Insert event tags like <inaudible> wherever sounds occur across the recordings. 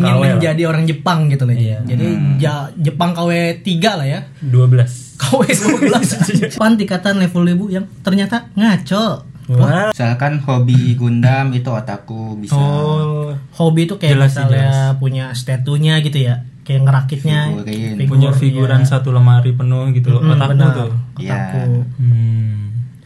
Iya, menjadi orang Jepang gitu loh. Jadi Hmm. Ja- Jepang KW 3 lah ya. <laughs> 12 KW <laughs> 12. Pan tingkatan level ibu yang ternyata ngaco. Wah, Misalkan hobi Gundam itu otaku bisa. Oh, hobi itu kayak Jelas sih, misalnya punya statunya gitu ya. Kayak ngerakitnya Figurin. punya figuran satu lemari penuh gitu loh, Hmm, otakku benar. tuh. Otaku. Iya. Hmm.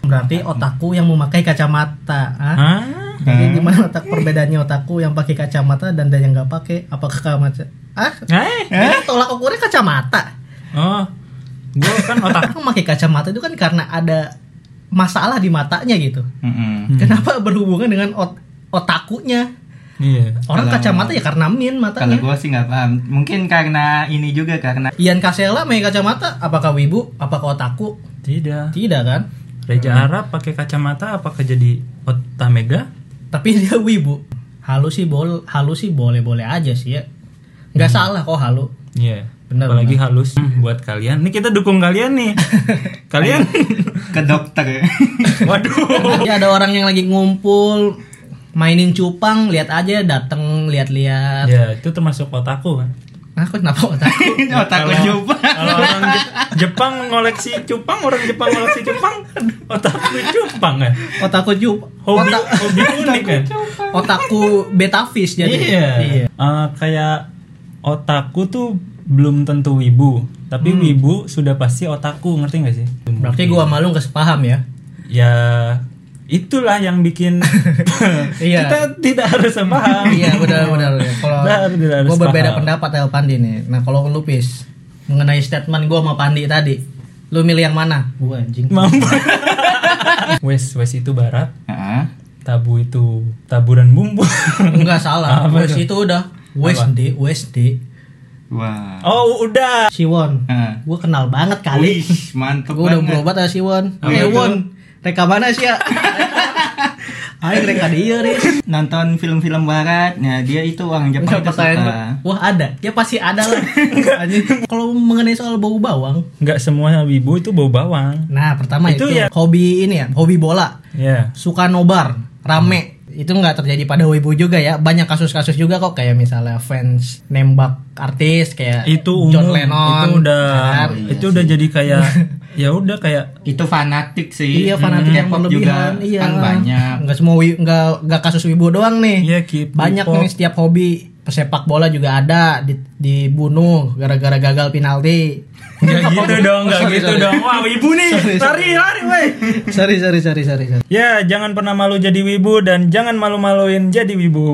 Berarti otaku yang memakai kacamata. Hah? Hah? Jadi gimana otak perbedaannya otaku yang pakai kacamata dan dan yang nggak pakai? Apakah kacamata? Ah, Eh? ini tolak ukurnya kacamata. Oh. Gua kan otak. Orang pakai kacamata itu kan karena ada masalah di matanya gitu. Mm-mm. Kenapa berhubungan dengan ot otakunya? <laughs> Iya. Orang Kalau- kacamata ya karena min Kalau matanya. gue sih nggak paham. Mungkin karena ini juga karena Ian Kasela pakai kacamata, apakah wibu? Apakah otaku? Tidak. Tidak kan? Reja Arab pakai kacamata apakah jadi Otamega? Tapi <laughs> dia wibu. Halus sih bol, halus sih boleh-boleh aja sih ya. Nggak salah kok halu. Iya. Benar, Apalagi halus Hmm, buat kalian. Nih kita dukung kalian <laughs> nih. <laughs> kalian. ke dokter. <laughs> Waduh. ya ada orang yang lagi ngumpul mainin cupang, lihat aja dateng lihat-lihat. ya, itu termasuk otakku kan. Nah, kok kenapa otaku? <laughs> otaku Kalau- coba. Kalau orang Je- Jepang ngoleksi cupang, orang Jepang ngoleksi <laughs> cupang, otakku cupang kan. Otaku cup, Hobi <laughs> hobi unik kan. otaku betavis jadi. Iya. Eh, kayak otakku tuh belum tentu wibu, tapi Hmm. wibu sudah pasti otakku, ngerti gak sih? Berarti gua malu nggak sepaham ya. Ya itulah yang bikin <laughs> Iya. kita tidak harus paham. <laughs> iya, <laughs> benar benar. benar. Kalau Benar, benar, harus gua berbeda paham. pendapat sama Pandi nih. Nah, kalau lupis mengenai statement gua sama Pandi tadi, lu milih yang mana? Gua anjing. <laughs> Mampu. wes wes itu barat, Heeh. tabu itu taburan bumbu. <laughs> Enggak salah. Apa Wes itu udah West D, West D. Wah. oh udah. Siwon. Heeh. Gua kenal banget kali. Wih, mantep Gue udah banget. berobat ya si Won. Apa Eh itu? Won, reka mana sih <laughs> ya? Ayo reka dia nih. Nonton film-film barat, nah dia itu orang Enggak Jepang itu pertanyaan suka. gua. Wah ada, ya pasti ada <laughs> lah. Anjing. Kalau mengenai soal bau bawang, Nggak semua wibu itu bau bawang. nah pertama itu, Itu ya- hobi ini ya, hobi bola, Ya. suka nobar, rame. Itu nggak terjadi pada wibu juga ya. Banyak kasus-kasus juga kok kayak misalnya fans nembak artis kayak Itu umum. John Lennon. itu udah kan? itu udah jadi <laughs> kayak ya udah kayak Itu fanatik sih. Iya fanatik yang K-pop berlebihan, juga iya. kan banyak. Nggak semua wi- nggak nggak kasus wibu doang nih. Iya, Eh, K-pop. Banyak nih setiap hobi. Pesepak bola juga ada di, dibunuh gara-gara gagal penalti. nggak gitu dong, nggak Sorry, gitu sorry. dong. Wah, wibu nih. Sorry, Lari, lari, woi. sorry, sorry, sorry, sorry, sorry. Ya, jangan pernah malu jadi wibu dan jangan malu-maluin jadi wibu.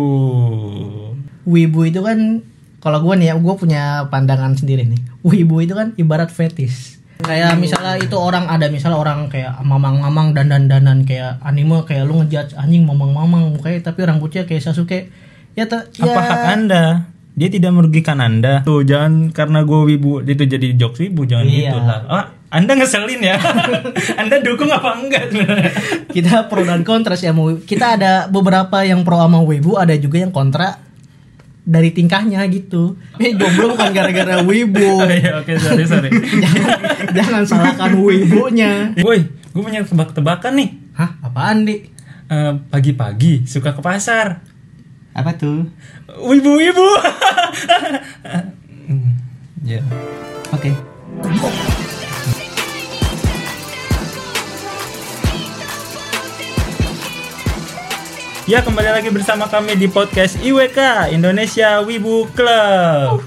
Wibu itu kan kalau gue nih ya, gue punya pandangan sendiri nih. Wibu itu kan ibarat fetis. Kayak misalnya itu orang ada misalnya orang kayak mamang-mamang dandan-dandan kayak anime kayak lu ngejudge anjing mamang-mamang mukanya tapi rambutnya kayak Sasuke. Ya, te- ya Apa hak Anda? Dia tidak merugikan Anda. Tuh, jangan karena gue wibu itu jadi jokes wibu, jangan Iya. gitu lah. Ah, anda ngeselin ya. <laughs> anda dukung apa enggak? sebenarnya? <laughs> kita pro dan kontra sih sama Wibu. Kita ada beberapa yang pro sama Wibu, ada juga yang kontra dari tingkahnya gitu. Eh jomblo bukan gara-gara Wibu. Oh, <laughs> iya, oke, sorry, sorry. jangan, jangan salahkan Wibunya. Woi, gue punya tebak-tebakan nih. Hah, apaan, Di? Eh, pagi-pagi suka ke pasar. Apa tuh? <laughs> Wibu-wibu. Hmm, <laughs> Ya. Oke. Ya kembali lagi bersama kami di podcast IWK Indonesia Wibu Club.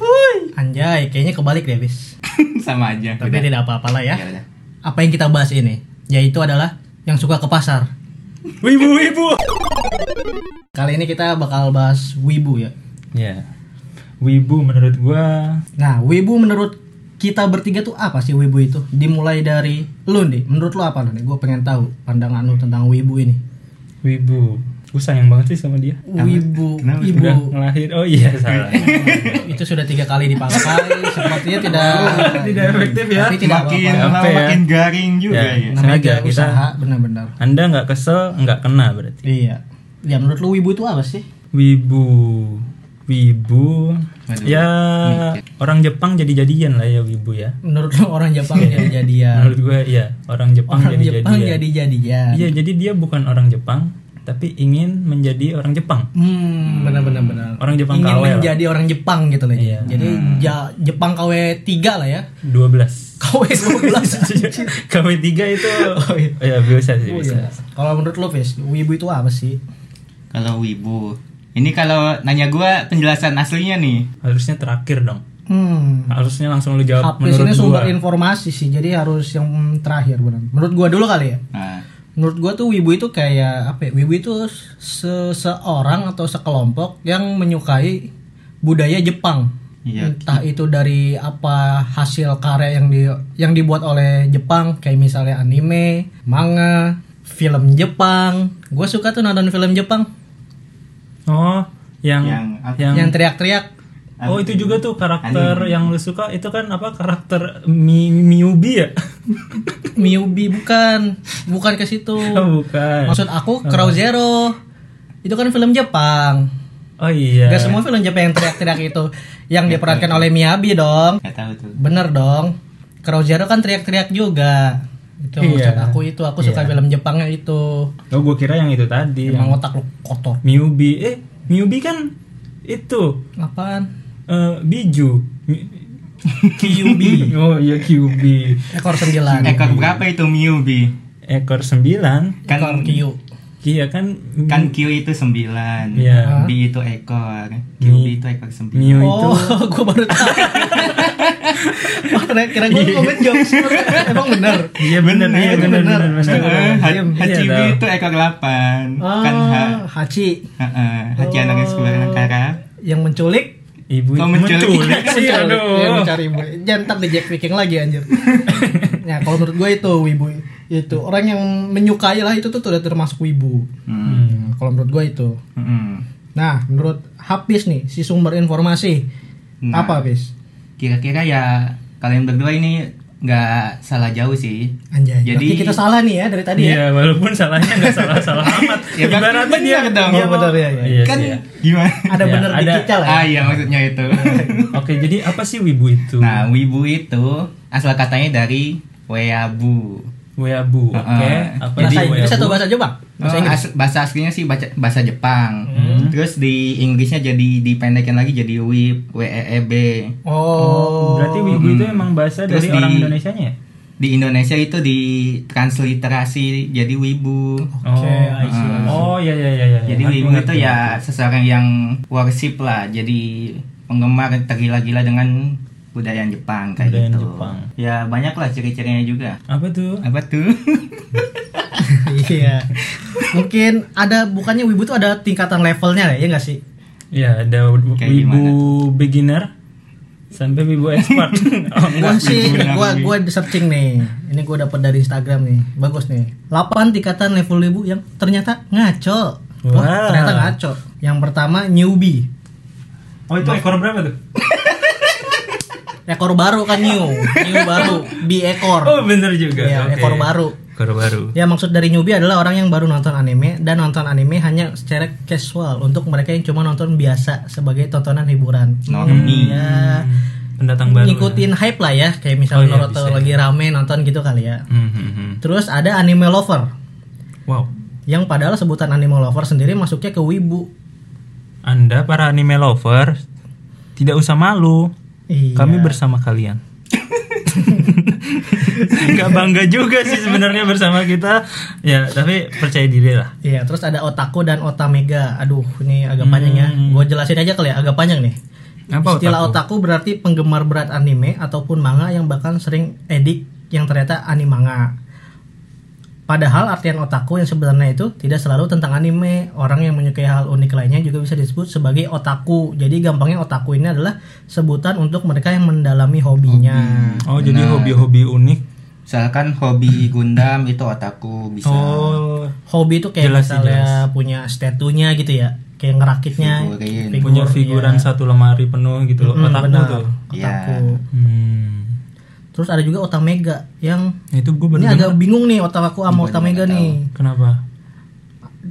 Anjay, kayaknya kebalik deh, Bis. Sama aja. Tapi udah. tidak apa-apalah ya. Ya udah. Apa yang kita bahas ini? Yaitu adalah yang suka ke pasar. Wibu Wibu. Kali ini kita bakal bahas Wibu ya. Ya. Wibu menurut gua Nah, Wibu menurut kita bertiga tuh apa sih Wibu itu? Dimulai dari lu nih, menurut lu apa nih? Gue pengen tahu pandangan lu tentang Wibu ini. Wibu. Gua sayang banget sih sama dia. Wibu, Kenapa? ibu Udah ngelahir. Oh iya salah. itu sudah tiga kali dipakai, sepertinya tidak Tidak efektif ya. Tapi tidak makin apa-apa. apa-apa lama ya. makin garing juga Ya. ya. Namanya Sengaja juga kita- usaha benar-benar. <laughs> Anda nggak kesel, nggak kena berarti. Iya. Ya menurut lu Wibu itu apa sih? Wibu. Wibu. Waduh. Ya orang Jepang jadi-jadian lah ya Wibu ya. Menurut lu orang <laughs> Jepang jadi-jadian. Menurut gua iya, Ya. orang Jepang Orang Jepang jadi-jadian. jadi-jadian. Iya, jadi dia Iya, bukan orang Jepang, tapi ingin menjadi orang Jepang. Hmm, benar benar benar. Orang Jepang Ingin KW lah. menjadi orang Jepang gitu loh. Iya. Jadi Ja- Jepang KW 3 lah ya. <laughs> <laughs> 12. KW 12. KW 3 itu oh, iya. bisa sih, Iya, bisa. Kalau menurut lo, Fis, wibu itu apa sih? Kalau wibu. Ini kalau nanya gua penjelasan aslinya nih. Harusnya terakhir dong. Hmm. Harusnya langsung lu jawab Habis Ya, menurut ini sumber gua. informasi sih, jadi harus yang terakhir benar. Menurut gua dulu kali ya. Nah, Menurut gua tuh wibu itu kayak apa? ya? Wibu itu seseorang atau sekelompok yang menyukai budaya Jepang. Iya. Entah itu dari apa hasil karya yang di yang dibuat oleh Jepang, kayak misalnya anime, manga, film Jepang. Gue suka tuh nonton film Jepang Oh, yang Yang yang, apa? yang teriak-teriak. Oh itu juga tuh karakter yang lu suka itu kan apa karakter Mi, Miyubi <laughs> ya? Miyubi bukan, bukan ke situ. <laughs> Oh, bukan. Maksud aku Crow Zero itu kan film Jepang. Oh iya. Gak semua film Jepang yang teriak-teriak itu yang diperankan oleh Miyabi dong. nggak tahu tuh. Bener dong. Crow Zero kan teriak-teriak juga. Itu maksud Iya. Iya. aku itu aku suka film Jepangnya itu. Oh gue kira yang itu tadi. yang- Emang otak lu kotor. Miyubi eh Miyubi kan itu Apaan? eh, biju Mi- Kyubi. <laughs> oh iya Kyubi Ekor sembilan. Ekor berapa itu Miyubi? ekor sembilan Kan Ekor Kyu. iya kan Mi- kan Q itu sembilan Iya. B itu ekor, Q Mi- itu ekor sembilan. Miyu itu Oh, <laughs> gue baru tahu. Wah, kira- kira gue komen jokes. Emang bener. iya benar Bener, iya benar benar Iya, Eh, benar Ha- Hachibi itu ekor delapan, kan H. Iya Ah, Oh. Hachi Heeh, Hachi anak yang sekolah negara. yang menculik ibu Kau menculik. menculik <laughs> sih Mencari- ya, Iya, Iya, aduh mencari ibu. Jangan ntar di Jack Viking lagi anjir. nah, kalau menurut gue itu wibu itu orang yang menyukai lah itu tuh udah termasuk wibu. Hmm. Nah, kalau menurut gue itu. Hmm. Nah, menurut Hafiz nih si sumber informasi Nah. apa Hafiz? Kira-kira ya kalian berdua ini nggak salah jauh sih. Anjay. Jadi- berarti kita salah nih ya dari tadi ya. Iya, walaupun salahnya nggak <laughs> salah-salah amat. Ya, berarti Ibaratnya dia benar dong. dia Oh, benar, mau- iya, iya. Iya, kan sih, iya. gimana? Ada Iya, bener di ada- kita lah. ya. Ah iya maksudnya itu. Oke, jadi apa sih wibu itu? nah, wibu itu asal katanya dari Oh, weabu. Weabu. Ah, Oke, Heeh. apa Bahasa sih Inggris weabu? atau bahasa Jepang? Bahasa Oh, Inggris. as- bahasa aslinya sih baca, bahasa Jepang. Hmm. Terus di Inggrisnya jadi dipendekin lagi jadi WIB, E WEEB. Oh. Berarti wibu itu emang bahasa Hmm. Terus dari di- orang Indonesianya ya? Di Indonesia itu ditransliterasi jadi wibu. Oke, I see, I see. Oh, iya iya iya iya. Jadi Ngerti, wibu Oh, itu ngerti. ya seseorang yang worship lah, jadi penggemar tergila-gila dengan budaya Jepang kayak Budaya gitu. Jepang. Ya banyak lah ciri-cirinya juga. apa tuh? Apa tuh? <laughs> <laughs> Iya. Mungkin ada bukannya wibu itu ada tingkatan levelnya ya enggak sih? Ya ada w- Kayak wibu gimana beginner sampai wibu expert. oh, Gua enggak. sih, wibu yang gua wibu. gua di searching nih. Ini gua dapat dari Instagram nih. Bagus nih. 8 tingkatan level wibu yang ternyata ngaco. Wah, Wah. ternyata ngaco. Yang pertama newbie. Oh itu ekor berapa tuh? Ekor baru kan new. New baru, bi Oh ekor. bener juga. Iya, Oke. ekor baru. Ekor baru. Ya maksud dari newbie adalah orang yang baru nonton anime dan nonton anime hanya secara casual untuk mereka yang cuma nonton biasa sebagai tontonan hiburan. Normie. Ya. Pendatang baru. ngikutin hype lah ya kayak misalnya Oh, iya, Naruto bisa, iya. lagi rame nonton gitu kali ya Hmm, hmm, hmm. terus ada anime lover Wow. yang padahal sebutan anime lover sendiri masuknya ke wibu Anda para anime lover tidak usah malu. Iya. Kami bersama kalian. Gak bangga juga sih sebenarnya bersama kita. Ya tapi percaya diri lah. Iya, terus ada otaku dan otamega. Aduh, ini agak panjang ya. Gue jelasin aja kali ya, agak panjang nih. Hmm. Apa Istilah otaku? berarti penggemar berat anime ataupun manga yang bahkan sering edik yang ternyata animanga. Padahal artian otaku yang sebenarnya itu tidak selalu tentang anime. Orang yang menyukai hal unik lainnya juga bisa disebut sebagai otaku. Jadi gampangnya otaku ini adalah sebutan untuk mereka yang mendalami hobinya. Oh jadi hobi-hobi unik. Misalkan hobi Gundam itu otaku bisa. Oh Hobi itu kayak Jelas sih, misalnya punya statunya gitu ya, kayak ngerakitnya. Figurin. figur, punya iya. figuran satu lemari penuh gitu loh Hmm, otakku benar. tuh Otaku. Iya. hmm. Nah, Terus ada juga otak mega yang itu gue ini bener agak bingung nih otak aku sama otak mega nih. kenapa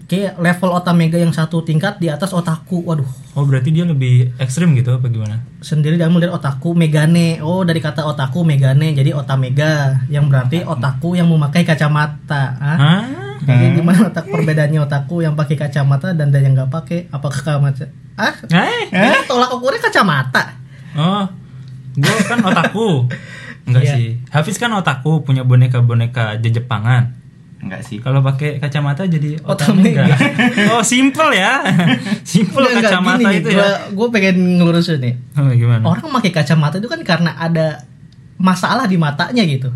Kayak level otak mega yang satu tingkat di atas otakku. Waduh, oh berarti dia lebih ekstrim gitu apa gimana sendiri dalam dari otakku megane. Oh, dari kata otakku megane jadi otak mega yang berarti otakku yang memakai kacamata. Hah? Hah? Jadi di mana letak perbedaannya otaku yang pakai kacamata dan dan yang nggak pakai? Apakah kacamata? Ah, Eh? ini tolak ukurnya kacamata. Oh, gue kan otaku. Enggak Iya. sih. Hafiz kan otaku punya boneka-boneka Jepangan. Enggak sih. Kalau pakai kacamata jadi Otamega. otamega. oh, simple <laughs> ya. simple Nggak, nggak, kacamata gini nih, itu gua, ya. Gue pengen ngelurusin nih. Oh, gimana? Orang pakai kacamata itu kan karena ada masalah di matanya gitu.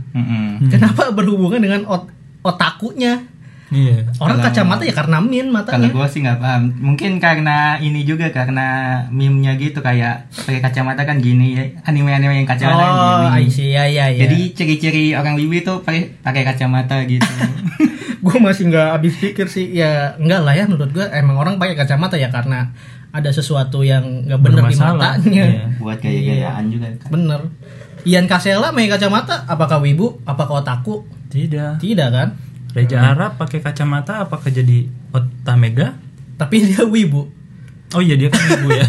Hmm. Mm-mm. Kenapa berhubungan dengan ot otakunya? Iya. Orang Kalau- kacamata ya karena min Kalau matanya. gua sih nggak paham. Mungkin karena ini juga karena meme-nya gitu kayak pakai kacamata kan gini ya. Anime-anime yang kacamata kan oh, I gini. see. Ya, ya, ya. Jadi ciri-ciri orang Wiwi tuh pakai pakai kacamata gitu. gue masih nggak habis pikir sih ya enggak lah ya menurut gue emang orang pakai kacamata ya karena ada sesuatu yang nggak bener di Bermasalah. matanya Iya. Buat gaya-gayaan juga kan. bener Ian Kasela pakai kacamata apakah wibu apakah otaku Tidak. tidak kan Reja Arab pakai kacamata apakah jadi otamega? tapi dia wibu Oh iya dia kan ibu <laughs> ya.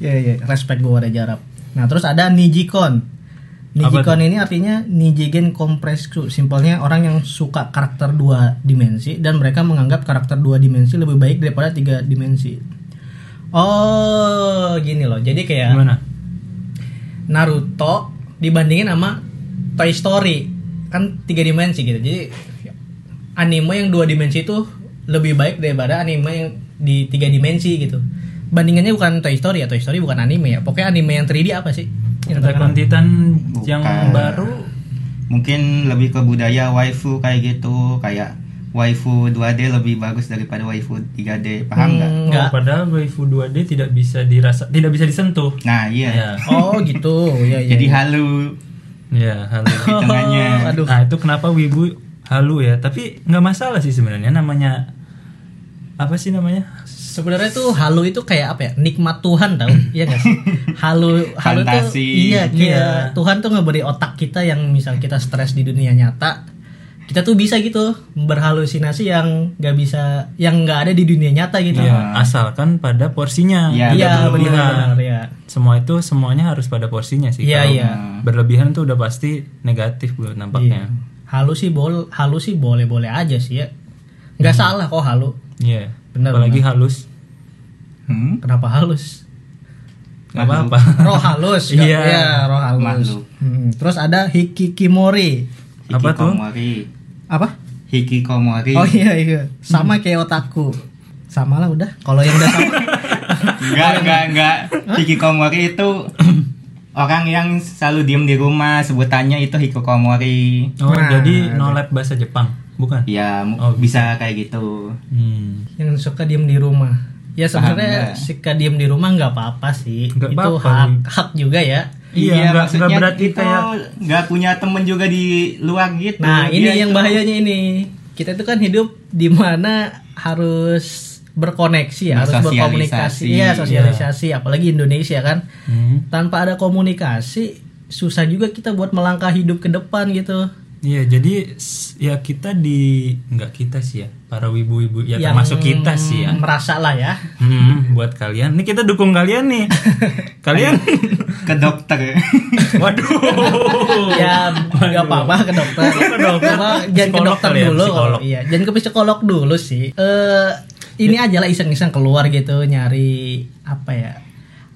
ya ya respect gue ada jarak nah terus ada Nijikon Nijikon ini artinya Nijigen Kompresku simpelnya orang yang suka karakter dua dimensi dan mereka menganggap karakter dua dimensi lebih baik daripada tiga dimensi oh gini loh jadi kayak Gimana? Naruto dibandingin sama Toy Story kan tiga dimensi gitu jadi anime yang dua dimensi itu lebih baik daripada anime yang di tiga dimensi gitu bandingannya bukan Toy Story ya Toy Story bukan anime ya pokoknya anime yang 3D apa sih Yang Attack terkenal. on Titan yang Bukan. baru Mungkin lebih ke budaya waifu kayak gitu, kayak waifu 2D lebih bagus daripada waifu 3D, paham nggak? Hmm, Enggak. enggak Oh, padahal waifu 2D tidak bisa dirasa tidak bisa disentuh. Nah, iya. Iya. oh gitu ya, ya, Jadi ya. halu Iya, halu. hitungannya. <laughs> aduh Nah, itu kenapa wibu halu ya, tapi nggak masalah sih sebenarnya namanya apa sih namanya? sebenarnya tuh halu itu kayak apa ya nikmat Tuhan tau iya gak sih halu halu tuh Fantasi. iya iya Iya. Tuhan tuh ngeberi otak kita yang misal kita stres di dunia nyata kita tuh bisa gitu berhalusinasi yang nggak bisa yang nggak ada di dunia nyata gitu Iya, asalkan pada porsinya. Tidak Iya, iya berlebihan. benar iya Semua itu semuanya harus pada porsinya sih. iya Kalau iya Berlebihan tuh udah pasti negatif buat nampaknya. halu sih bol halu sih boleh boleh aja sih ya nggak salah kok halu Iya. Benar, Apalagi halus. Hmm? kenapa halus Gak apa-apa. roh Oh, halus nggak- <laughs> Iya. iya roh halus Makhluk. Hmm, terus ada hikikimori Apa tuh? Hikikomori. apa Hikikomori. Oh iya iya. Sama kayak otakku. Sama lah udah. Kalau yang udah sama. Enggak, enggak, enggak. Hikikomori itu orang yang selalu diem di rumah, sebutannya itu hikikomori. Oh, Nah. jadi no lab bahasa Jepang, bukan? Ya, mu- Oh, bisa kayak gitu. Hmm. yang suka diem di rumah. Ya Paham sebenarnya nggak? suka diem di rumah nggak apa-apa sih. Nggak Itu apa-apa. hak hak juga ya. Iya, nggak- nggak berarti itu kayak- nggak punya temen juga di luar gitu. Nah ini Dia yang itu- bahayanya ini. Kita itu kan hidup di mana harus berkoneksi ya, harus Bersosialisasi. berkomunikasi, ya sosialisasi, apalagi Indonesia kan. Hmm. Tanpa ada komunikasi, susah juga kita buat melangkah hidup ke depan gitu. Iya, jadi s- ya kita di nggak kita sih ya, para wibu-wibu ya Yang termasuk kita sih ya. Merasa lah ya. Hmm, buat kalian, nih kita dukung kalian <laughs> nih. Kalian, ke <laughs> dokter. <laughs> waduh. ya nggak apa-apa ke dokter Ke dokter. Cuma jangan ke Psikolog dokter kali ya, dulu psikolog. iya jangan ke psikolog dulu sih eh ini aja lah iseng-iseng keluar gitu nyari apa ya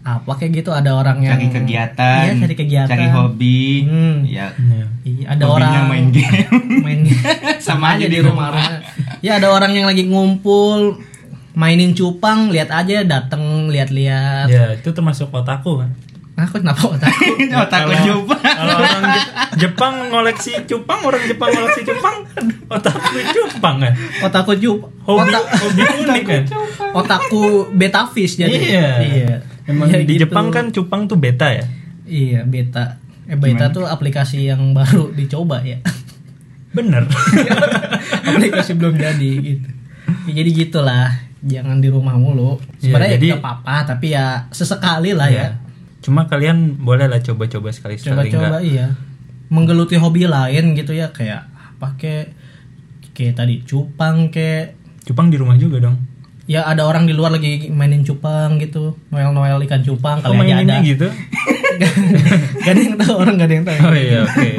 apa kayak gitu ada orang yang cari kegiatan, iya cari kegiatan cari hobi. Hmm. Ya, <laughs> Iya. Iya, ada hobinya orang main game. <laughs> main Sama aja di rumah. ya ada orang yang lagi ngumpul mainin cupang lihat aja dateng lihat-lihat Ya, itu termasuk otaku kan. aku kenapa otak Otak Kalau- coba. Kalau orang Je- Jepang ngoleksi cupang, orang Jepang ngoleksi cupang, otaku cupang kan. otakku cup Hobi, hobi unik kan. otakku betavis jadi Iya. iya Emang Ya di gitu. Jepang kan cupang tuh beta ya. Iya, beta. Eh, beta tuh aplikasi yang baru dicoba <laughs> ya. Bener. aplikasi belum jadi gitu. Ya, jadi gitulah, jangan di rumah mulu. Iya, Sebenarnya jadi- ya nggak apa-apa, tapi ya sesekali lah ya. Iya. Cuma kalian boleh lah coba-coba sekali sekali Coba-coba enggak. iya. Menggeluti hobi lain gitu ya kayak apa kek kayak tadi cupang kek Cupang di rumah juga dong. ya ada orang di luar lagi mainin cupang gitu noel-noel ikan cupang Kok kalau aja maininnya ada <laughs> gitu? gak ada yang tahu orang <laughs> iya. gak ada yang tahu Oh iya, oke.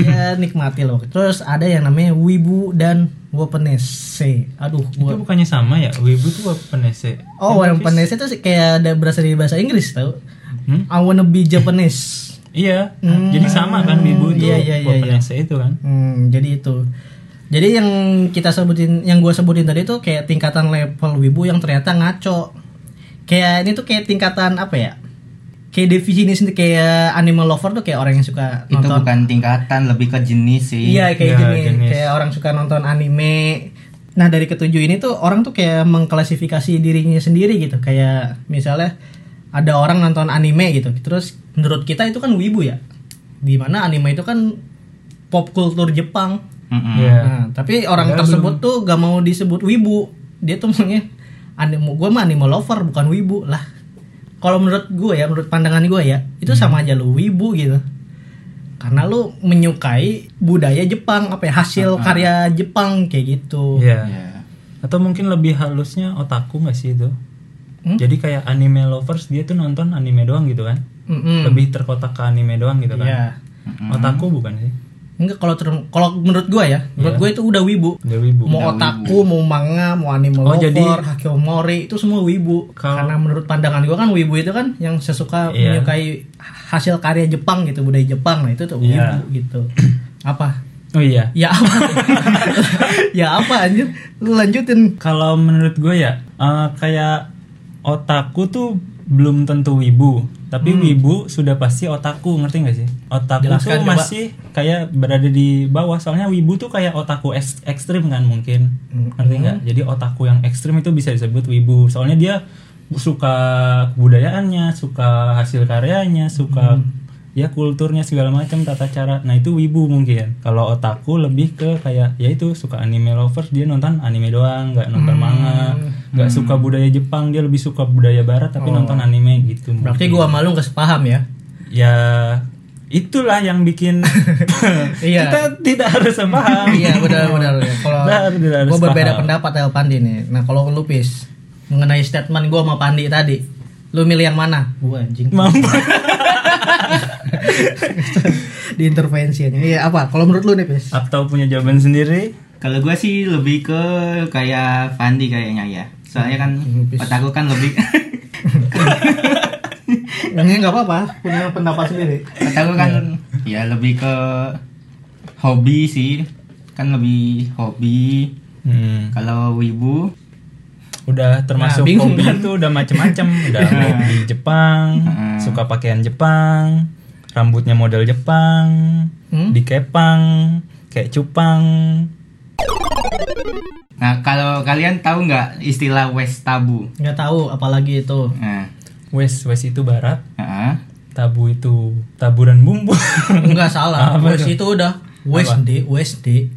ya nikmati loh terus ada yang namanya wibu dan gue penese aduh Itu gue bukannya sama ya? Wibu tuh E. penese. oh orang penese itu sih kayak ada berasal dari bahasa Inggris tau Hmm? I wanna be Japanese Iya. Jadi sama kan Wibu tuh Hmm. Iya, iya, iya, iya. penese itu kan. Hmm, jadi itu. Jadi yang kita sebutin, yang gue sebutin tadi itu kayak tingkatan level wibu yang ternyata ngaco. Kayak ini tuh kayak tingkatan apa ya? Kayak definisi sendiri kayak animal lover tuh kayak orang yang suka itu nonton. bukan tingkatan lebih ke jenis sih Iya kayak Ya, gini, jenis. kayak orang suka nonton anime. Nah dari ketujuh ini tuh orang tuh kayak mengklasifikasi dirinya sendiri gitu. Kayak misalnya ada orang nonton anime gitu. Terus menurut kita itu kan wibu ya. Dimana anime itu kan pop kultur Jepang. Mm-mm. Iya. Nah, tapi orang tersebut tuh gak mau disebut wibu. Dia tuh maunya anime gue mah anime lover bukan wibu lah. Kalau menurut gue ya, menurut pandangan gue ya, itu Hmm. sama aja lu wibu gitu. Karena lu menyukai budaya Jepang, apa ya, hasil karya Jepang kayak gitu. Ah, Iya. Iya. Atau mungkin lebih halusnya otaku nggak sih itu? Hmm? Jadi kayak anime lovers dia tuh nonton anime doang gitu kan? Mm-mm. Lebih terkotak ke anime doang gitu kan? Hmm. Iya. Otaku bukan sih? Enggak kalau term- kalau menurut gue ya, menurut Iya. gue itu udah wibu. Dia wibu. Mau otaku, mau manga, mau anime Oh, lover, jadi- hakiomori itu semua wibu. Kalau- Karena menurut pandangan gua kan wibu itu kan yang sesuka Iya. menyukai hasil karya Jepang gitu, budaya Jepang. Nah, itu tuh wibu Iya. gitu. <clears throat> apa? Oh iya. Ya apa? <laughs> ya apa anjir? Lu lanjutin. Kalau menurut gue ya eh, kayak otaku tuh belum tentu wibu. Tapi wibu sudah pasti otaku, ngerti gak sih? Otaku Jelaskan, tuh coba. Kan masih kayak berada di bawah. Soalnya wibu tuh kayak otaku es- ekstrim kan mungkin. Ngerti nggak? Jadi otaku yang ekstrim itu bisa disebut wibu. Soalnya dia suka kebudayaannya, suka hasil karyanya, suka ya kulturnya segala macam tata cara. Nah itu wibu mungkin. Kalau otaku lebih ke kayak ya itu suka anime lovers dia nonton anime doang, nggak nonton manga, nggak suka budaya Jepang dia lebih suka budaya Barat tapi nonton anime gitu. Oh. Berarti mungkin. gua malu gak sepaham <laughs> ya. ya itulah yang bikin <laughs> Iya. kita tidak harus paham. iya, benar benar. ya. Kalau Nah, tidak harus gua berbeda paham. pendapat sama Pandi nih. Nah, kalau lu Pis, mengenai statement gua sama Pandi tadi, lu milih yang mana? Gua anjing. Mampu. diintervensi aja. Iya apa? Kalau menurut lu nih, Pis? atau punya jawaban sendiri Kalau gue sih lebih ke kayak Fandi kayaknya ya. Soalnya kan Habis. otak gue kan lebih <laughs> Ini nggak apa-apa, punya pendapat sendiri. otak gue kan ya lebih ke hobi sih. Kan lebih hobi. hmm. Kalau wibu udah termasuk Nah, bingung kan? hobi Iya. Hmm. itu udah <laughs> macem-macem udah hobi Jepang Heeh. suka pakaian Jepang rambutnya model Jepang Hmm? dikepang kayak cupang Nah, kalau kalian tahu nggak istilah West Tabu? Nggak tahu apalagi itu. Nah, wes wes itu barat heeh. tabu itu taburan bumbu Enggak salah. Apa West itu udah West D, West D.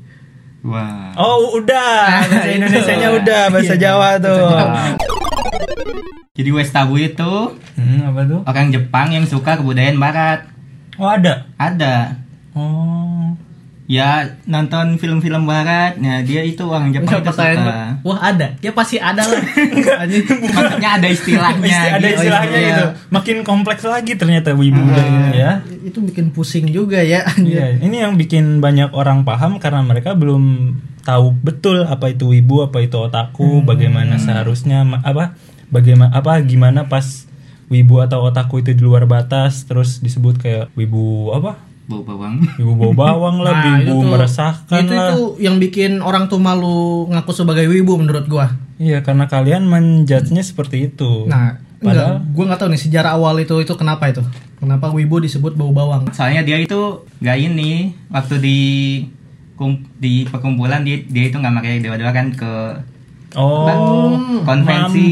Wah. <laughs> oh <laughs> udah bahasa itu. Indonesianya udah Iya. bahasa Jawa tuh Jadi West Tabu itu hmm, apa tuh orang Jepang yang suka kebudayaan barat. oh ada Ada. oh Ya, nonton film-film barat. Nah, dia itu orang Enggak Jepang itu pertanyaan. suka. gua. Wah, ada. Ya pasti ada <laughs> lah. Anjing. Maksudnya ada istilahnya. Isti- ada gitu. istilahnya Iya. itu makin kompleks lagi ternyata wibu dan- ya itu bikin pusing juga ya. anjir. Iya, ini yang bikin banyak orang paham karena mereka belum tahu betul apa itu wibu, apa itu otaku, bagaimana seharusnya ma- apa bagaimana apa gimana pas wibu atau otaku itu di luar batas terus disebut kayak wibu apa? Bau bawang. Wibu bau bawang lah, Nah, wibu tuh- meresahkan itu lah. tuh yang bikin orang tuh malu ngaku sebagai wibu menurut gua. Iya, karena kalian menjudge-nya seperti itu. Nah, Padahal- enggak, gua nggak tahu nih sejarah awal itu itu kenapa itu? Kenapa wibu disebut bau bawang? Soalnya dia itu nggak ini waktu di kum- di perkumpulan dia, dia itu nggak pakai dewa-dewa kan ke oh, konvensi.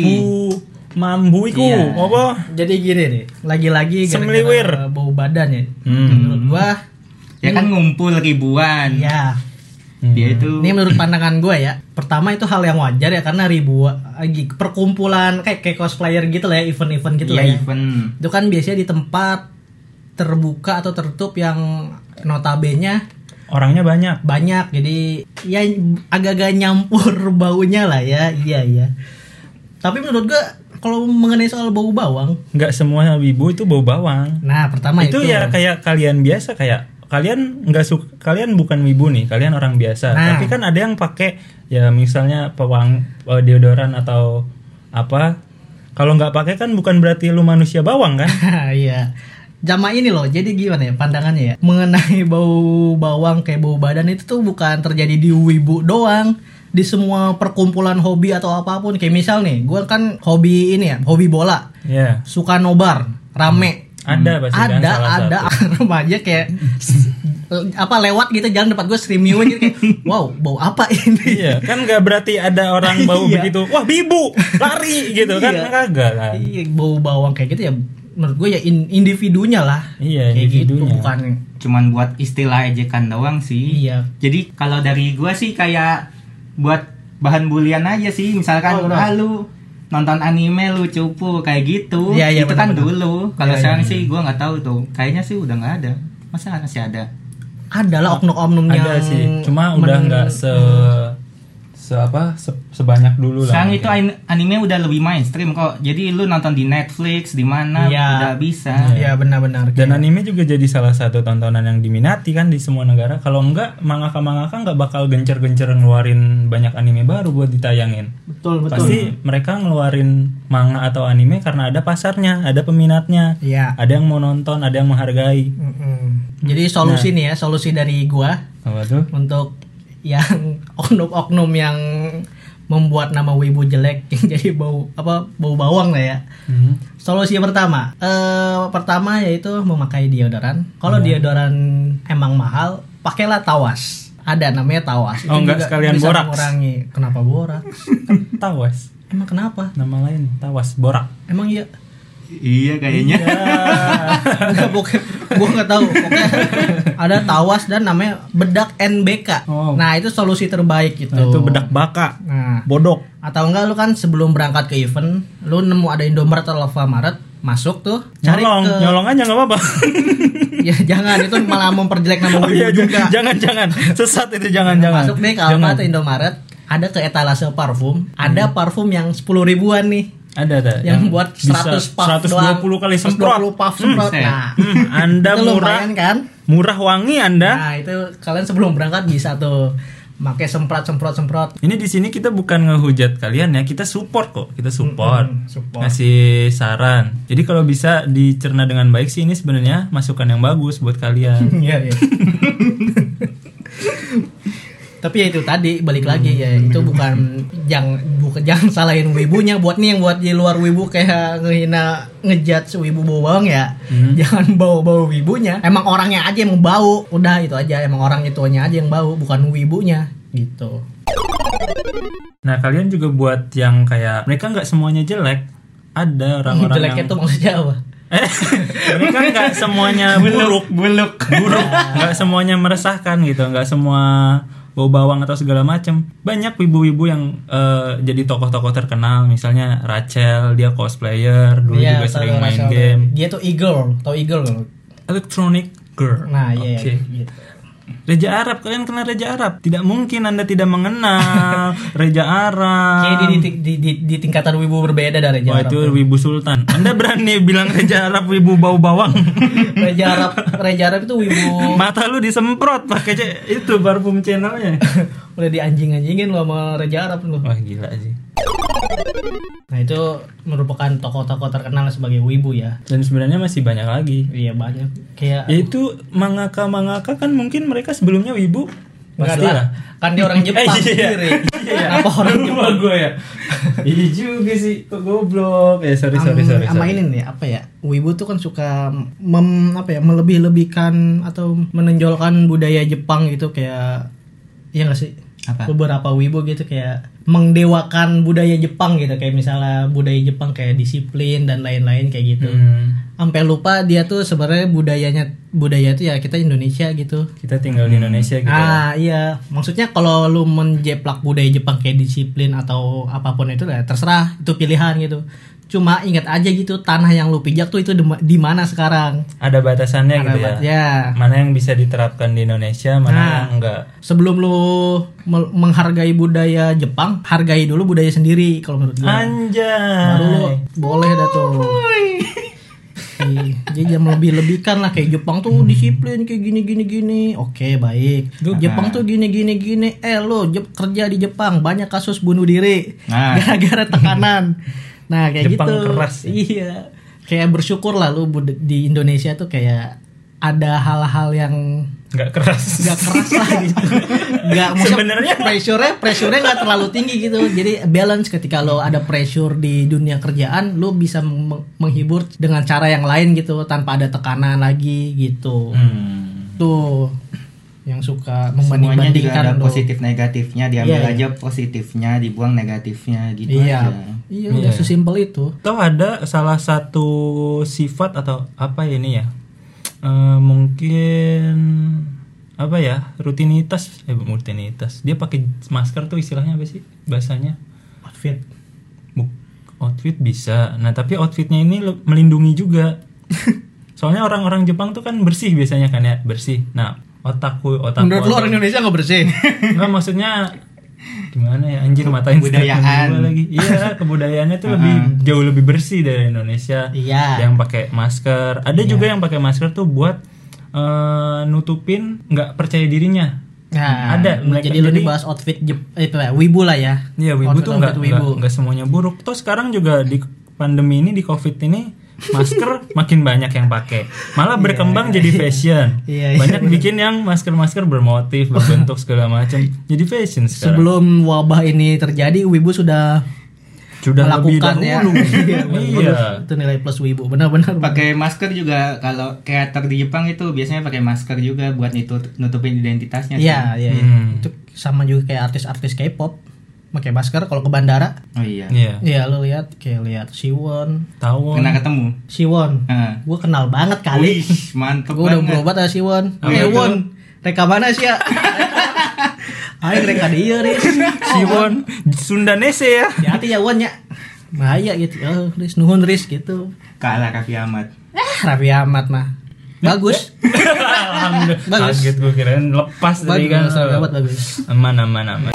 mambu, mambu iku, Iya. apa? Jadi gini nih, lagi-lagi gara-gara Semliwir. bau badan ya. Hmm. Menurut gua, Ya kan ngumpul ribuan. ya. Dia itu Ini menurut pandangan gua ya. Pertama itu hal yang wajar ya karena ribuan lagi perkumpulan kayak kayak cosplayer gitu lah ya, event-event gitu lah Iya. ya ya. event. Itu kan biasanya di tempat terbuka atau tertutup yang notabene Orangnya banyak. banyak jadi ya agak-agak nyampur <laughs> baunya lah ya iya iya tapi menurut gua kalau mengenai soal bau bawang Nggak semua wibu itu bau bawang. nah pertama itu, itu, ya kayak kalian biasa kayak kalian nggak suka kalian bukan wibu nih kalian orang biasa Nah. tapi kan ada yang pakai ya misalnya pewang eh, deodoran atau apa kalau nggak pakai kan bukan berarti lu manusia bawang <laughs> kan Iya. Jama ini loh, jadi gimana ya pandangannya ya? Mengenai bau bawang kayak bau badan itu tuh bukan terjadi di wibu doang di semua perkumpulan hobi atau apapun kayak misal nih gue kan hobi ini ya hobi bola ya suka nobar rame ada pasti kan Hmm. ada salah ada satu. <laughs> remaja <laughs> kayak apa lewat gitu jalan depan gue streaming gitu <laughs> kayak, wow bau apa ini iya kan nggak berarti ada orang bau <laughs> Iya. begitu wah bibu lari gitu kan Iya. kagak kan Iya, bau bawang kayak gitu ya menurut gue ya in- individunya lah. Iya, kayak gitu individunya. bukan Cuman buat istilah ejekan doang sih. Iya. Jadi kalau dari gua sih kayak buat bahan bulian aja sih. Misalkan Oh, benar. ah, lu nonton anime lu cupu kayak gitu. Iya, iya, Itu benar, kan benar. dulu. Kalau Iya, sekarang iya. sih gua nggak tahu tuh. Kayaknya sih udah nggak ada. Masa masih ada? adalah oknum-oknum yang Ah, ada sih cuma udah men- nggak se se apa se- sebanyak dulu lah Sekarang mungkin. itu an- anime udah lebih mainstream kok. Jadi lu nonton di Netflix di mana Iya. udah bisa. Iya benar-benar. Dan Kayak- anime juga jadi salah satu tontonan yang diminati kan di semua negara. Kalau enggak, mangaka-mangaka nggak bakal gencer-gencer ngeluarin banyak anime baru buat ditayangin. betul betul. Pasti mereka ngeluarin manga atau anime karena ada pasarnya, ada peminatnya. Iya. Ada yang mau nonton, ada yang menghargai. Mm-mm. Jadi Nah. solusi nih ya, solusi dari gua Apa tuh? untuk yang <laughs> oknum-oknum yang membuat nama wibu jelek <laughs> yang jadi bau apa bau bawang lah ya. Hmm. Solusi yang pertama, eh pertama yaitu memakai deodoran. Kalau Iya. deodoran emang mahal, pakailah tawas. Ada namanya tawas. Oh, enggak, juga sekalian bisa boraks. mengurangi. Kenapa boraks? Tawas. Emang kenapa? Nama lain Tawas Borak. Emang iya. Iya kayaknya. Enggak, pokoknya- gua nggak tahu. Pokoknya ada tawas dan namanya bedak NBK. Oh. Nah itu solusi terbaik gitu. Nah, itu bedak baka. Nah Bodok. atau enggak lu kan sebelum berangkat ke event, lu nemu ada Indomaret atau Alfamaret, masuk tuh, cari Nyolong, ke nyolong aja nggak apa-apa. <laughs> ya jangan itu malah memperjelek nama Oh wibu iya, juga. jangan jangan. Sesat itu jangan jangan. Hmm. Masuk deh ke Alfa atau Indomaret, ada ke etalase parfum, ada parfum yang 10 ribuan nih Ada ada. yang, buat Ya, bisa 100 puff 120 doang. kali semprot. 120 puff semprot. Hmm, nah, Hmm, anda itu murah lumayan kan? murah wangi Anda. Nah, itu kalian sebelum berangkat bisa tuh pakai semprot semprot semprot. Ini di sini kita bukan ngehujat kalian ya, kita support kok. Kita support. Mm-mm, Hmm, support. Ngasih saran. Jadi kalau bisa dicerna dengan baik sih ini sebenarnya masukan yang bagus buat <laughs> kalian. <laughs> Iya, iya. Tapi ya itu tadi balik Hmm, lagi ya itu bukan jangan bukan jangan salahin wibunya buat nih yang buat di luar wibu kayak ngehina ngejat wibu bau bawang ya Hmm. jangan bau bau wibunya emang orangnya aja yang bau udah itu aja emang orang itunya aja yang bau bukan wibunya gitu Nah, kalian juga buat yang kayak mereka nggak semuanya jelek. Ada orang-orang jeleknya yang tuh maksudnya apa Eh, <laughs> mereka nggak semuanya buruk. <laughs> buluk. buruk nggak semuanya meresahkan gitu nggak semua bau bawang atau segala macem banyak wibu-wibu yang eh, jadi tokoh-tokoh terkenal misalnya Rachel dia cosplayer dulu Iya, juga tau, sering tau, main tau. game dia tuh eagle tau eagle nggak lu? electronic girl nah iya Oke. gitu. Reja Arab kalian kenal Reja Arab tidak mungkin anda tidak <laughs> mengenal Reja Arab Kayaknya di, di- di- di- di tingkatan wibu berbeda dari Jawa Wah Oh, itu Wibu Sultan Anda berani bilang Reja Arab Wibu bau bawang Reja Arab, Reja Arab itu wibu Mata lu disemprot pakai ce- itu parfum channelnya udah dianjing-anjingin lo sama Reja Arab lo. Wah gila sih Nah itu merupakan tokoh-tokoh terkenal sebagai wibu ya. dan sebenarnya masih banyak lagi Iya banyak kayak yaitu mangaka mangaka kan mungkin mereka sebelumnya wibu Enggak lah. kan dia <laughs> orang Jepang Eh, iya. sendiri. Iya. <laughs> Kenapa orang Jepang? Lupa gue ya iya juga sih kok goblok ya sorry Am- sorry sorry, ama sorry. ini nih apa ya? Wibu tuh kan suka mem apa ya? melebih-lebihkan atau menonjolkan budaya Jepang gitu kayak Iya gak sih? Apa? Beberapa wibu gitu kayak mengdewakan budaya Jepang gitu kayak misalnya budaya Jepang kayak disiplin dan lain-lain kayak gitu. Hmm, sampai lupa dia tuh sebenarnya budayanya budaya itu ya kita Indonesia gitu. kita tinggal di Indonesia gitu lah. Ah iya, maksudnya kalau lu menjeplak budaya Jepang kayak disiplin atau apapun itu ya terserah itu pilihan gitu. Cuma ingat aja gitu tanah yang lu pijak tuh itu di di mana sekarang. ada batasannya gitu ya Ya. mana yang bisa diterapkan di Indonesia mana Nah. yang enggak Sebelum lu mel- menghargai budaya Jepang, hargai dulu budaya sendiri kalau menurut gua. anjay Baru lu boleh dah tuh. sih jadi Iya, jam lebih lebihkan lah kayak Jepang Hmm. tuh disiplin kayak gini gini gini oke baik Jepang tuh gini gini gini eh lo Jep- kerja di Jepang banyak kasus bunuh diri Nah. gara-gara tekanan nah kayak Jepang gitu keras ya. iya kayak bersyukur lah lu bud- di Indonesia tuh kayak ada hal-hal yang nggak keras gak keras lah gitu gak Sebenarnya- pressure pressure nggak terlalu tinggi gitu jadi balance ketika lo ada pressure di dunia kerjaan lo bisa meng- menghibur dengan cara yang lain gitu tanpa ada tekanan lagi gitu Hmm. tuh yang suka Semuanya juga ada membanding-bandingkan lo. positif negatifnya diambil kan Iya, iya. aja positifnya dibuang negatifnya gitu iya aja. iya udah sesimpel itu Atau ada salah satu sifat atau apa ya ini ya? Eh, mungkin apa ya? Rutinitas, eh bukan rutinitas. Dia pakai masker tuh istilahnya apa sih bahasanya? outfit Buk- Outfit bisa. Nah, tapi outfitnya ini le- melindungi <laughs> juga. Soalnya orang-orang Jepang tuh kan bersih biasanya kan ya, bersih. Nah, otakku otakku. menurut lo orang Indonesia nggak <laughs> bersih Enggak maksnya gimana ya anjir matain Kebudayaan. statement gua lagi. Iya, kebudayaannya tuh lebih Ah. jauh lebih bersih dari Indonesia. Iya. Yang pakai masker. Ada juga yang pakai masker tuh buat eh, nutupin nggak percaya dirinya. nah Ada, mereka- jadi lo jadi- dibahas outfit Jep- eh, itu ya, wibu lah ya Iya, wibu Outfit- tuh outfit nggak nggak- nggak semuanya buruk. Terus sekarang juga di pandemi ini di Covid ini <laughs> masker makin banyak yang pakai. Malah berkembang jadi fashion. Iya, iya, banyak bikin yang masker-masker <laughs> bermotif, berbentuk segala macam. Jadi fashion sekarang. sebelum wabah ini terjadi wibu sudah sudah lebih melakukan ya <laughs> dahulu. iya. itu nilai plus wibu benar-benar pakai masker juga kalau kreator di Jepang itu biasanya pakai masker juga buat itu nutupin identitasnya iya iya iya. Hmm. itu sama juga kayak artis-artis K-pop pakai masker kalau ke bandara oh iya Iya. Iya lo lihat kayak lihat Siwon Tahu. pernah ketemu Siwon Ya. Heeh. gue kenal banget kali Wih, mantep gue udah banget berobat sama Siwon Apa eh itu? Won reka mana <laughs> sih ya Ayo reka dia Riz Siwon Sundanese <laughs> ya. hati ya Won ya bahaya gitu oh, Riz nuhun Riz gitu kalah Raffi Ahmad ah Raffi Ahmad mah bagus Alhamdulillah. Bagus. Kaget gue kirain lepas dari bagus kan. gawat, bagus Aman aman aman.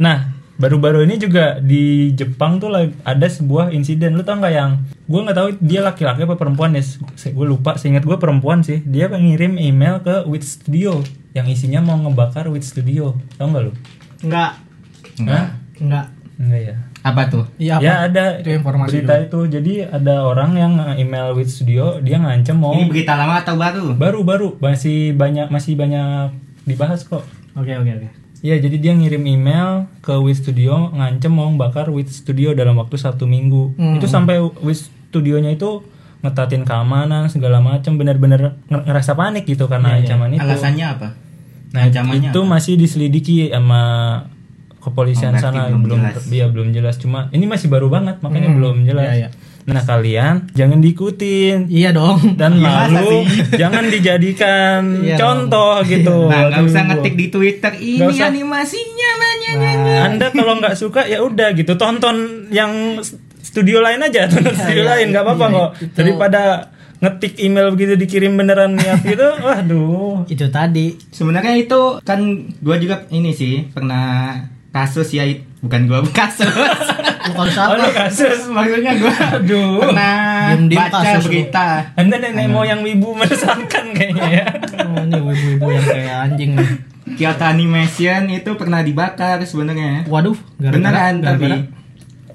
Nah, baru-baru ini juga di Jepang tuh lagi- ada sebuah insiden. Lu tau nggak yang gue nggak tahu dia laki-laki apa perempuan ya? Gue lupa. Seingat gue perempuan sih. Dia ngirim email ke Wit Studio yang isinya mau ngebakar Wit Studio. Tau nggak lu? Enggak, Hah? enggak. Enggak ya. apa tuh Iya apa? Ya ada Itu informasi berita itu. Jadi ada orang yang email with studio dia ngancem mau ini berita lama atau baru baru-baru masih banyak masih banyak dibahas kok. Oke oke oke. Ya jadi dia ngirim email ke with studio ngancem mau bakar with studio dalam waktu satu minggu. Hmm. Itu sampai with studionya itu ngetatin keamanan segala macam benar-benar nger- ngerasa panik gitu karena ancaman itu. alasannya apa Nah, Iya, Ancamannya itu masih diselidiki sama kepolisian Oh, berarti sana belum belum jelas. Hmm. dia belum jelas cuma ini masih baru banget makanya belum Iya, jelas. iya. Nah, kalian jangan diikutin Iya dong. dan Iya, masa lalu sih? jangan dijadikan Iya, contoh gitu. nah nggak Aduh. usah ngetik di Twitter ini Nggak usah. animasinya banyak Anda kalau nggak suka ya udah gitu tonton yang s- studio lain aja, Iya, tonton studio lain nggak apa-apa kok. Daripada ngetik email begitu dikirim beneran niat gitu, <laughs> waduh. Itu tadi. sebenarnya itu kan gua juga ini sih pernah kasus ya it- bukan gua <laughs> kasus Bukan Oh, salah. ini kasus. maksudnya gua Aduh. pernah Diam-diam baca kasus lu. berita Anda nenek moyang wibu meresahkan kayaknya ya. Oh, ini ibu-ibu yang kayak anjing nih. Kyoto Animation itu pernah dibakar sebenarnya Waduh, beneran tapi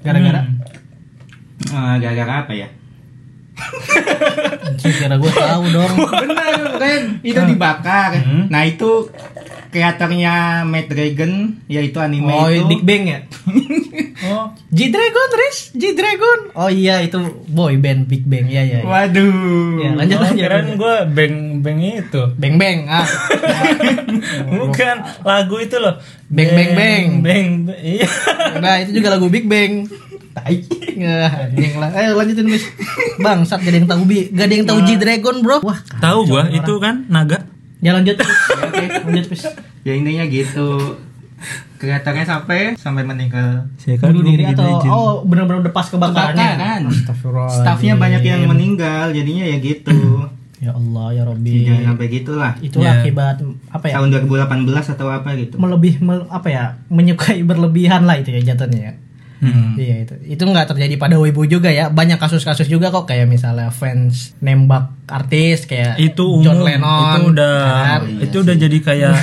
gara-gara, gara-gara. Hmm. Eh, gara-gara apa ya Anjing, gara gue tahu dong. bener Ren. itu dibakar nah itu kreatornya Matt Dragon yaitu anime Oh, itu Big Bang ya? Oh, G-Dragon, Riz. G-Dragon. Oh iya, itu boy band Big Bang. Iya, iya. iya. waduh Iya, lanjut, oh, lanjut. kirain lanjut. gue beng beng itu. Bang Bang. Ah. Bukan lagu itu Oh, loh. Beng, beng, beng. Beng beng. Iya. Nah, itu juga lagu Big Bang. Tai. Nah, anjing lah. Ayo lanjutin, Riz. Bangsat, gak ada yang tahu Bi. Gak ada yang tahu G-Dragon, Bro. Wah, Tahu gua itu kan naga. Ya lanjut. Ya, Oke, lanjut Pis. ya intinya gitu kreatornya sampai sampai meninggal Ya kan, Bunuh diri atau oh benar-benar udah pas kebakarannya. Kebakaran. kan? staffnya banyak yang meninggal jadinya ya gitu Ya Allah ya Robbi. jangan sampai gitulah Itu akibat Iya, apa ya? tahun 2018 atau apa gitu Melebih mel- apa ya? Menyukai berlebihan lah itu ya jatuhnya ya. Hmm. Iya itu. Itu nggak terjadi pada wibu juga ya. Banyak kasus-kasus juga kok kayak misalnya fans nembak artis kayak itu umum John Lennon. itu udah kan? itu udah jadi <laughs> kayak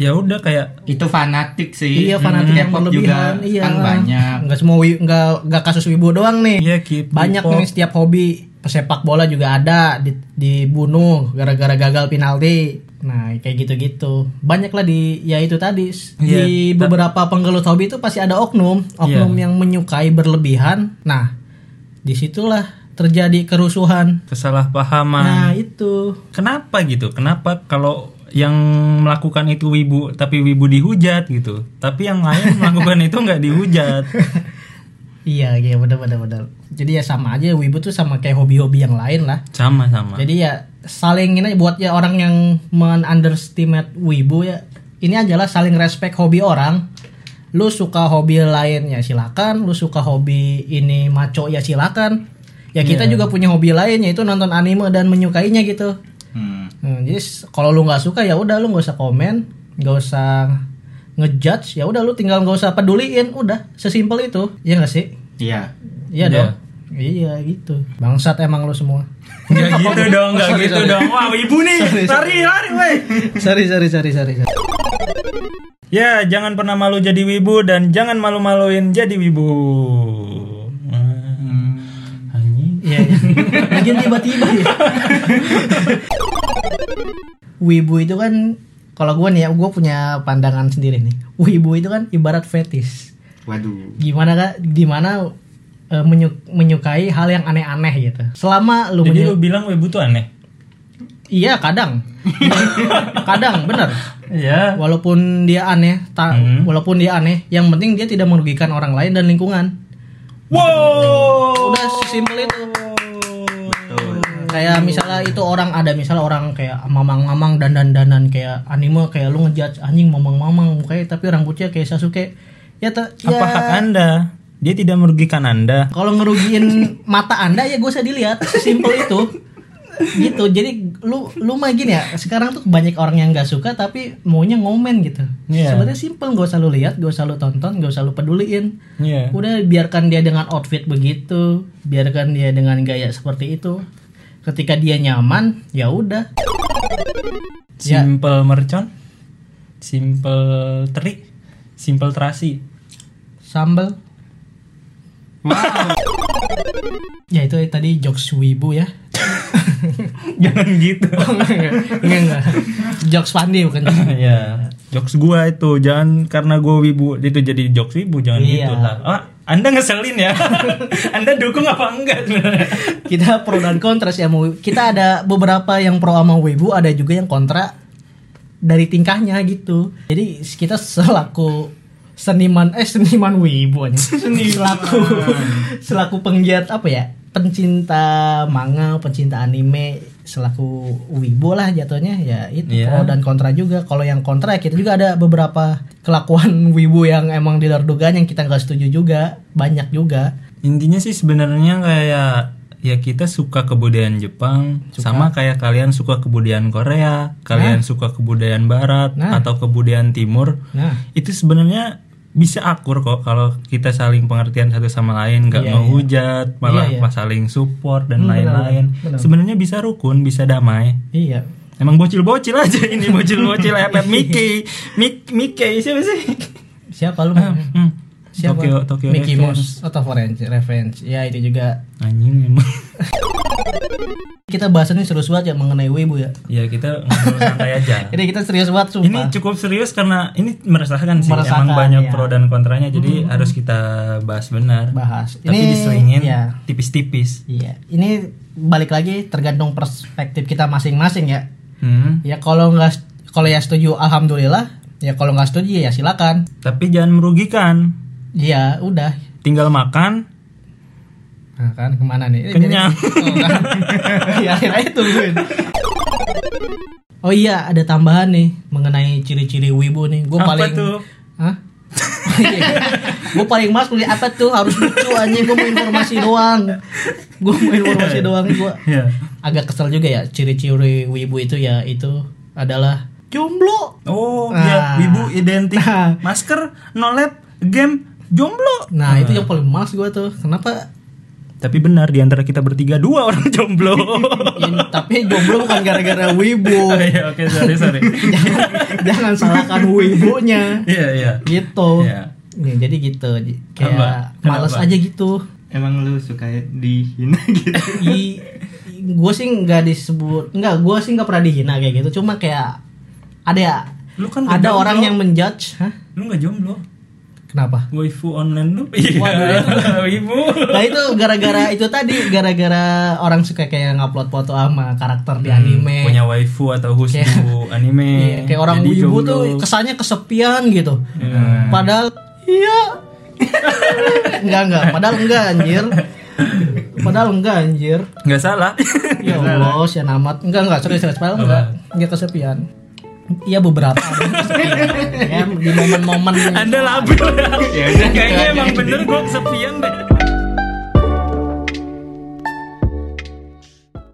ya udah kayak Itu fanatik sih. Iya fanatik yang K-pop berlebihan. Hmm, juga Iya. kan banyak. Nggak semua wi- nggak nggak kasus wibu doang nih. Iya, K-pop. Banyak nih setiap hobi. Pesepak bola juga ada di- dibunuh gara-gara gagal penalti. Nah, kayak gitu-gitu. Banyak lah di ya itu tadi s- Iya, di ta- beberapa penggelut hobi itu pasti ada oknum, oknum Iya. yang menyukai berlebihan. Nah, disitulah terjadi kerusuhan. kesalahpahaman Nah, itu. kenapa gitu kenapa kalau yang melakukan itu wibu tapi wibu dihujat gitu tapi yang <laughs> lain melakukan itu nggak dihujat Iya, iya benar benar benar. Jadi ya sama aja wibu tuh sama kayak hobi-hobi yang lain lah. sama sama Jadi ya saling ini buat ya orang yang men-underestimate wibu ya ini adalah saling respect hobi orang. Lu suka hobi lain ya silakan, lu suka hobi ini maco ya silakan. Ya kita juga punya hobi lain yaitu nonton anime dan menyukainya gitu. Hmm. Hmm, jadi s- kalau lu nggak suka ya udah lu nggak usah komen, nggak usah ngejudge, ya udah lu tinggal nggak usah peduliin, udah sesimpel itu. Iya nggak sih? Iya. Iya Iya. dong. Iya gitu. Bangsat emang lu semua. nggak gitu dong nggak Sorry, gitu sorry. dong wah wibu nih Sorry, lari lari weh <laughs> <laughs> sorry sorry sorry sorry sorry. Ya, jangan pernah malu jadi wibu dan jangan malu-maluin jadi wibu. Hmm. Anjing. Iya. iya. Mungkin tiba-tiba ya. Wibu itu kan kalau gue nih ya gue punya pandangan sendiri nih. Wibu itu kan ibarat fetish. Waduh. Gimana kak? Gimana eh, menyu- menyukai hal yang aneh-aneh gitu. Selama lu Jadi menyu- lu bilang wibu tuh aneh. iya kadang, kadang bener. Ya. Iya. Walaupun dia aneh, ta- Hmm. walaupun dia aneh, yang penting dia tidak merugikan orang lain dan lingkungan. Wow. Udah simpel itu. Hmm. kayak misalnya itu orang ada misalnya orang kayak mamang-mamang dandan-dandan kayak anime kayak lu ngejudge anjing mamang-mamang mukanya tapi rambutnya kayak Sasuke ya ta- Apa ya, hak Anda? Dia tidak merugikan Anda. kalau ngerugiin mata anda ya gue usah dilihat simpel itu gitu jadi lu lu mah gini ya sekarang tuh banyak orang yang nggak suka tapi maunya ngomen gitu Iya. sebenarnya simpel gak usah lu lihat gak usah lu tonton gak usah lu peduliin Iya. Udah biarkan dia dengan outfit begitu, biarkan dia dengan gaya seperti itu. Ketika dia nyaman, ya udah. Ya. Simple mercon. Simple teri. Simple terasi. <laughs> Sambel. ya itu tadi jokes wibu ya. <laughs> Jangan gitu. enggak, enggak. Jokes Pandi bukan. Iya. Jokes gua itu jangan karena gua wibu itu jadi jokes wibu jangan Iya. gitu lah. Ah, anda ngeselin ya. <laughs> anda dukung apa enggak sebenarnya? Kita pro dan kontra sih sama wibu. Kita ada beberapa yang pro sama wibu, ada juga yang kontra dari tingkahnya gitu. Jadi kita selaku seniman eh seniman wibu aja. selaku selaku penggiat apa ya pencinta manga pencinta anime selaku wibu lah jatuhnya ya itu Iya. pro dan kontra juga kalau yang kontra ya kita juga ada beberapa kelakuan <laughs> wibu yang emang di luar dugaan yang kita nggak setuju juga banyak juga Intinya sih sebenarnya kayak ya kita suka kebudayaan Jepang sama kayak kalian suka kebudayaan Korea, kalian suka kebudayaan Barat Nah. atau kebudayaan Timur. nah Itu sebenarnya bisa akur kok kalau kita saling pengertian satu sama lain, nggak Iya, ngehujat, malah Iya, iya. pas saling support dan Hmm, benar, lain-lain. benar. Sebenarnya bisa rukun, bisa damai. iya Emang bocil-bocil aja <laughs> ini bocil-bocil epet <laughs> Mickey, Mik Mickey siapa sih? siapa lu namanya? Ah, Hmm. siapa Tokyo Tokyo Mickey Revenge. Mouse Oh, atau Orange Revenge ya itu juga Anjing emang. kita bahasannya serius banget ya mengenai wibu ya ya kita ngobrol santai aja. <laughs> jadi kita serius banget sumpah Ini cukup serius karena ini meresahkan sih. Meresahkan, Emang banyak iya. pro dan kontranya, jadi harus kita bahas benar. bahas Tapi ini diselingin ya tipis-tipis. iya ini balik lagi tergantung perspektif kita masing-masing ya Hmm. ya kalau nggak kalau ya setuju alhamdulillah ya kalau nggak setuju ya silakan Tapi jangan merugikan. ya udah Tinggal makan. nah, kan kemana nih Kenyang. Oh, <laughs> kan. ya akhirnya tungguin oh iya ada tambahan nih mengenai ciri-ciri wibu nih gue Apa paling tuh? Hah? <laughs> gue paling mas kuliah apa tuh harus lucu anjing gue mau informasi doang gue mau informasi doang gue Ya. agak kesel juga ya ciri-ciri wibu itu ya itu adalah jomblo Oh, Ah. ya, ibu identik. Nah. Masker, no lab, game, jomblo. Nah, itu yang paling males gua tuh. Kenapa? Tapi benar di antara kita bertiga dua <laughs> orang jomblo. Ya, tapi jomblo bukan gara-gara wibu. <laughs> Oh iya, oke sorry <laughs> sorry. jangan, <laughs> jangan salahkan wibunya. Iya iya. Gitu. Iya. Ya, jadi gitu. J- Apa? Kayak Kenapa? males aja gitu. Emang lu suka dihina gitu? I, gue sih nggak disebut nggak gue sih nggak pernah dihina kayak gitu cuma kayak ada ya Lu kan ada jomblo. orang yang menjudge Hah? Lu nggak jomblo? kenapa Waifu online lu? Waduh, <laughs> Ibu. nah itu gara-gara itu tadi gara-gara orang suka kayak ngupload foto sama karakter di anime Hmm, Punya waifu atau husbu anime. Iya, kayak orang Jadi wibu jomblo. tuh kesannya kesepian gitu padahal iya <laughs> enggak enggak padahal enggak anjir padahal enggak anjir nggak salah. <laughs> Ya Allah, sian amat. Enggak, enggak, serius, serius. Padahal enggak, enggak kesepian. Iya <laughs> beberapa. ya, di momen-momen Anda labil. Ya Ya Kayaknya udah, gitu aja. emang bener gue kesepian deh.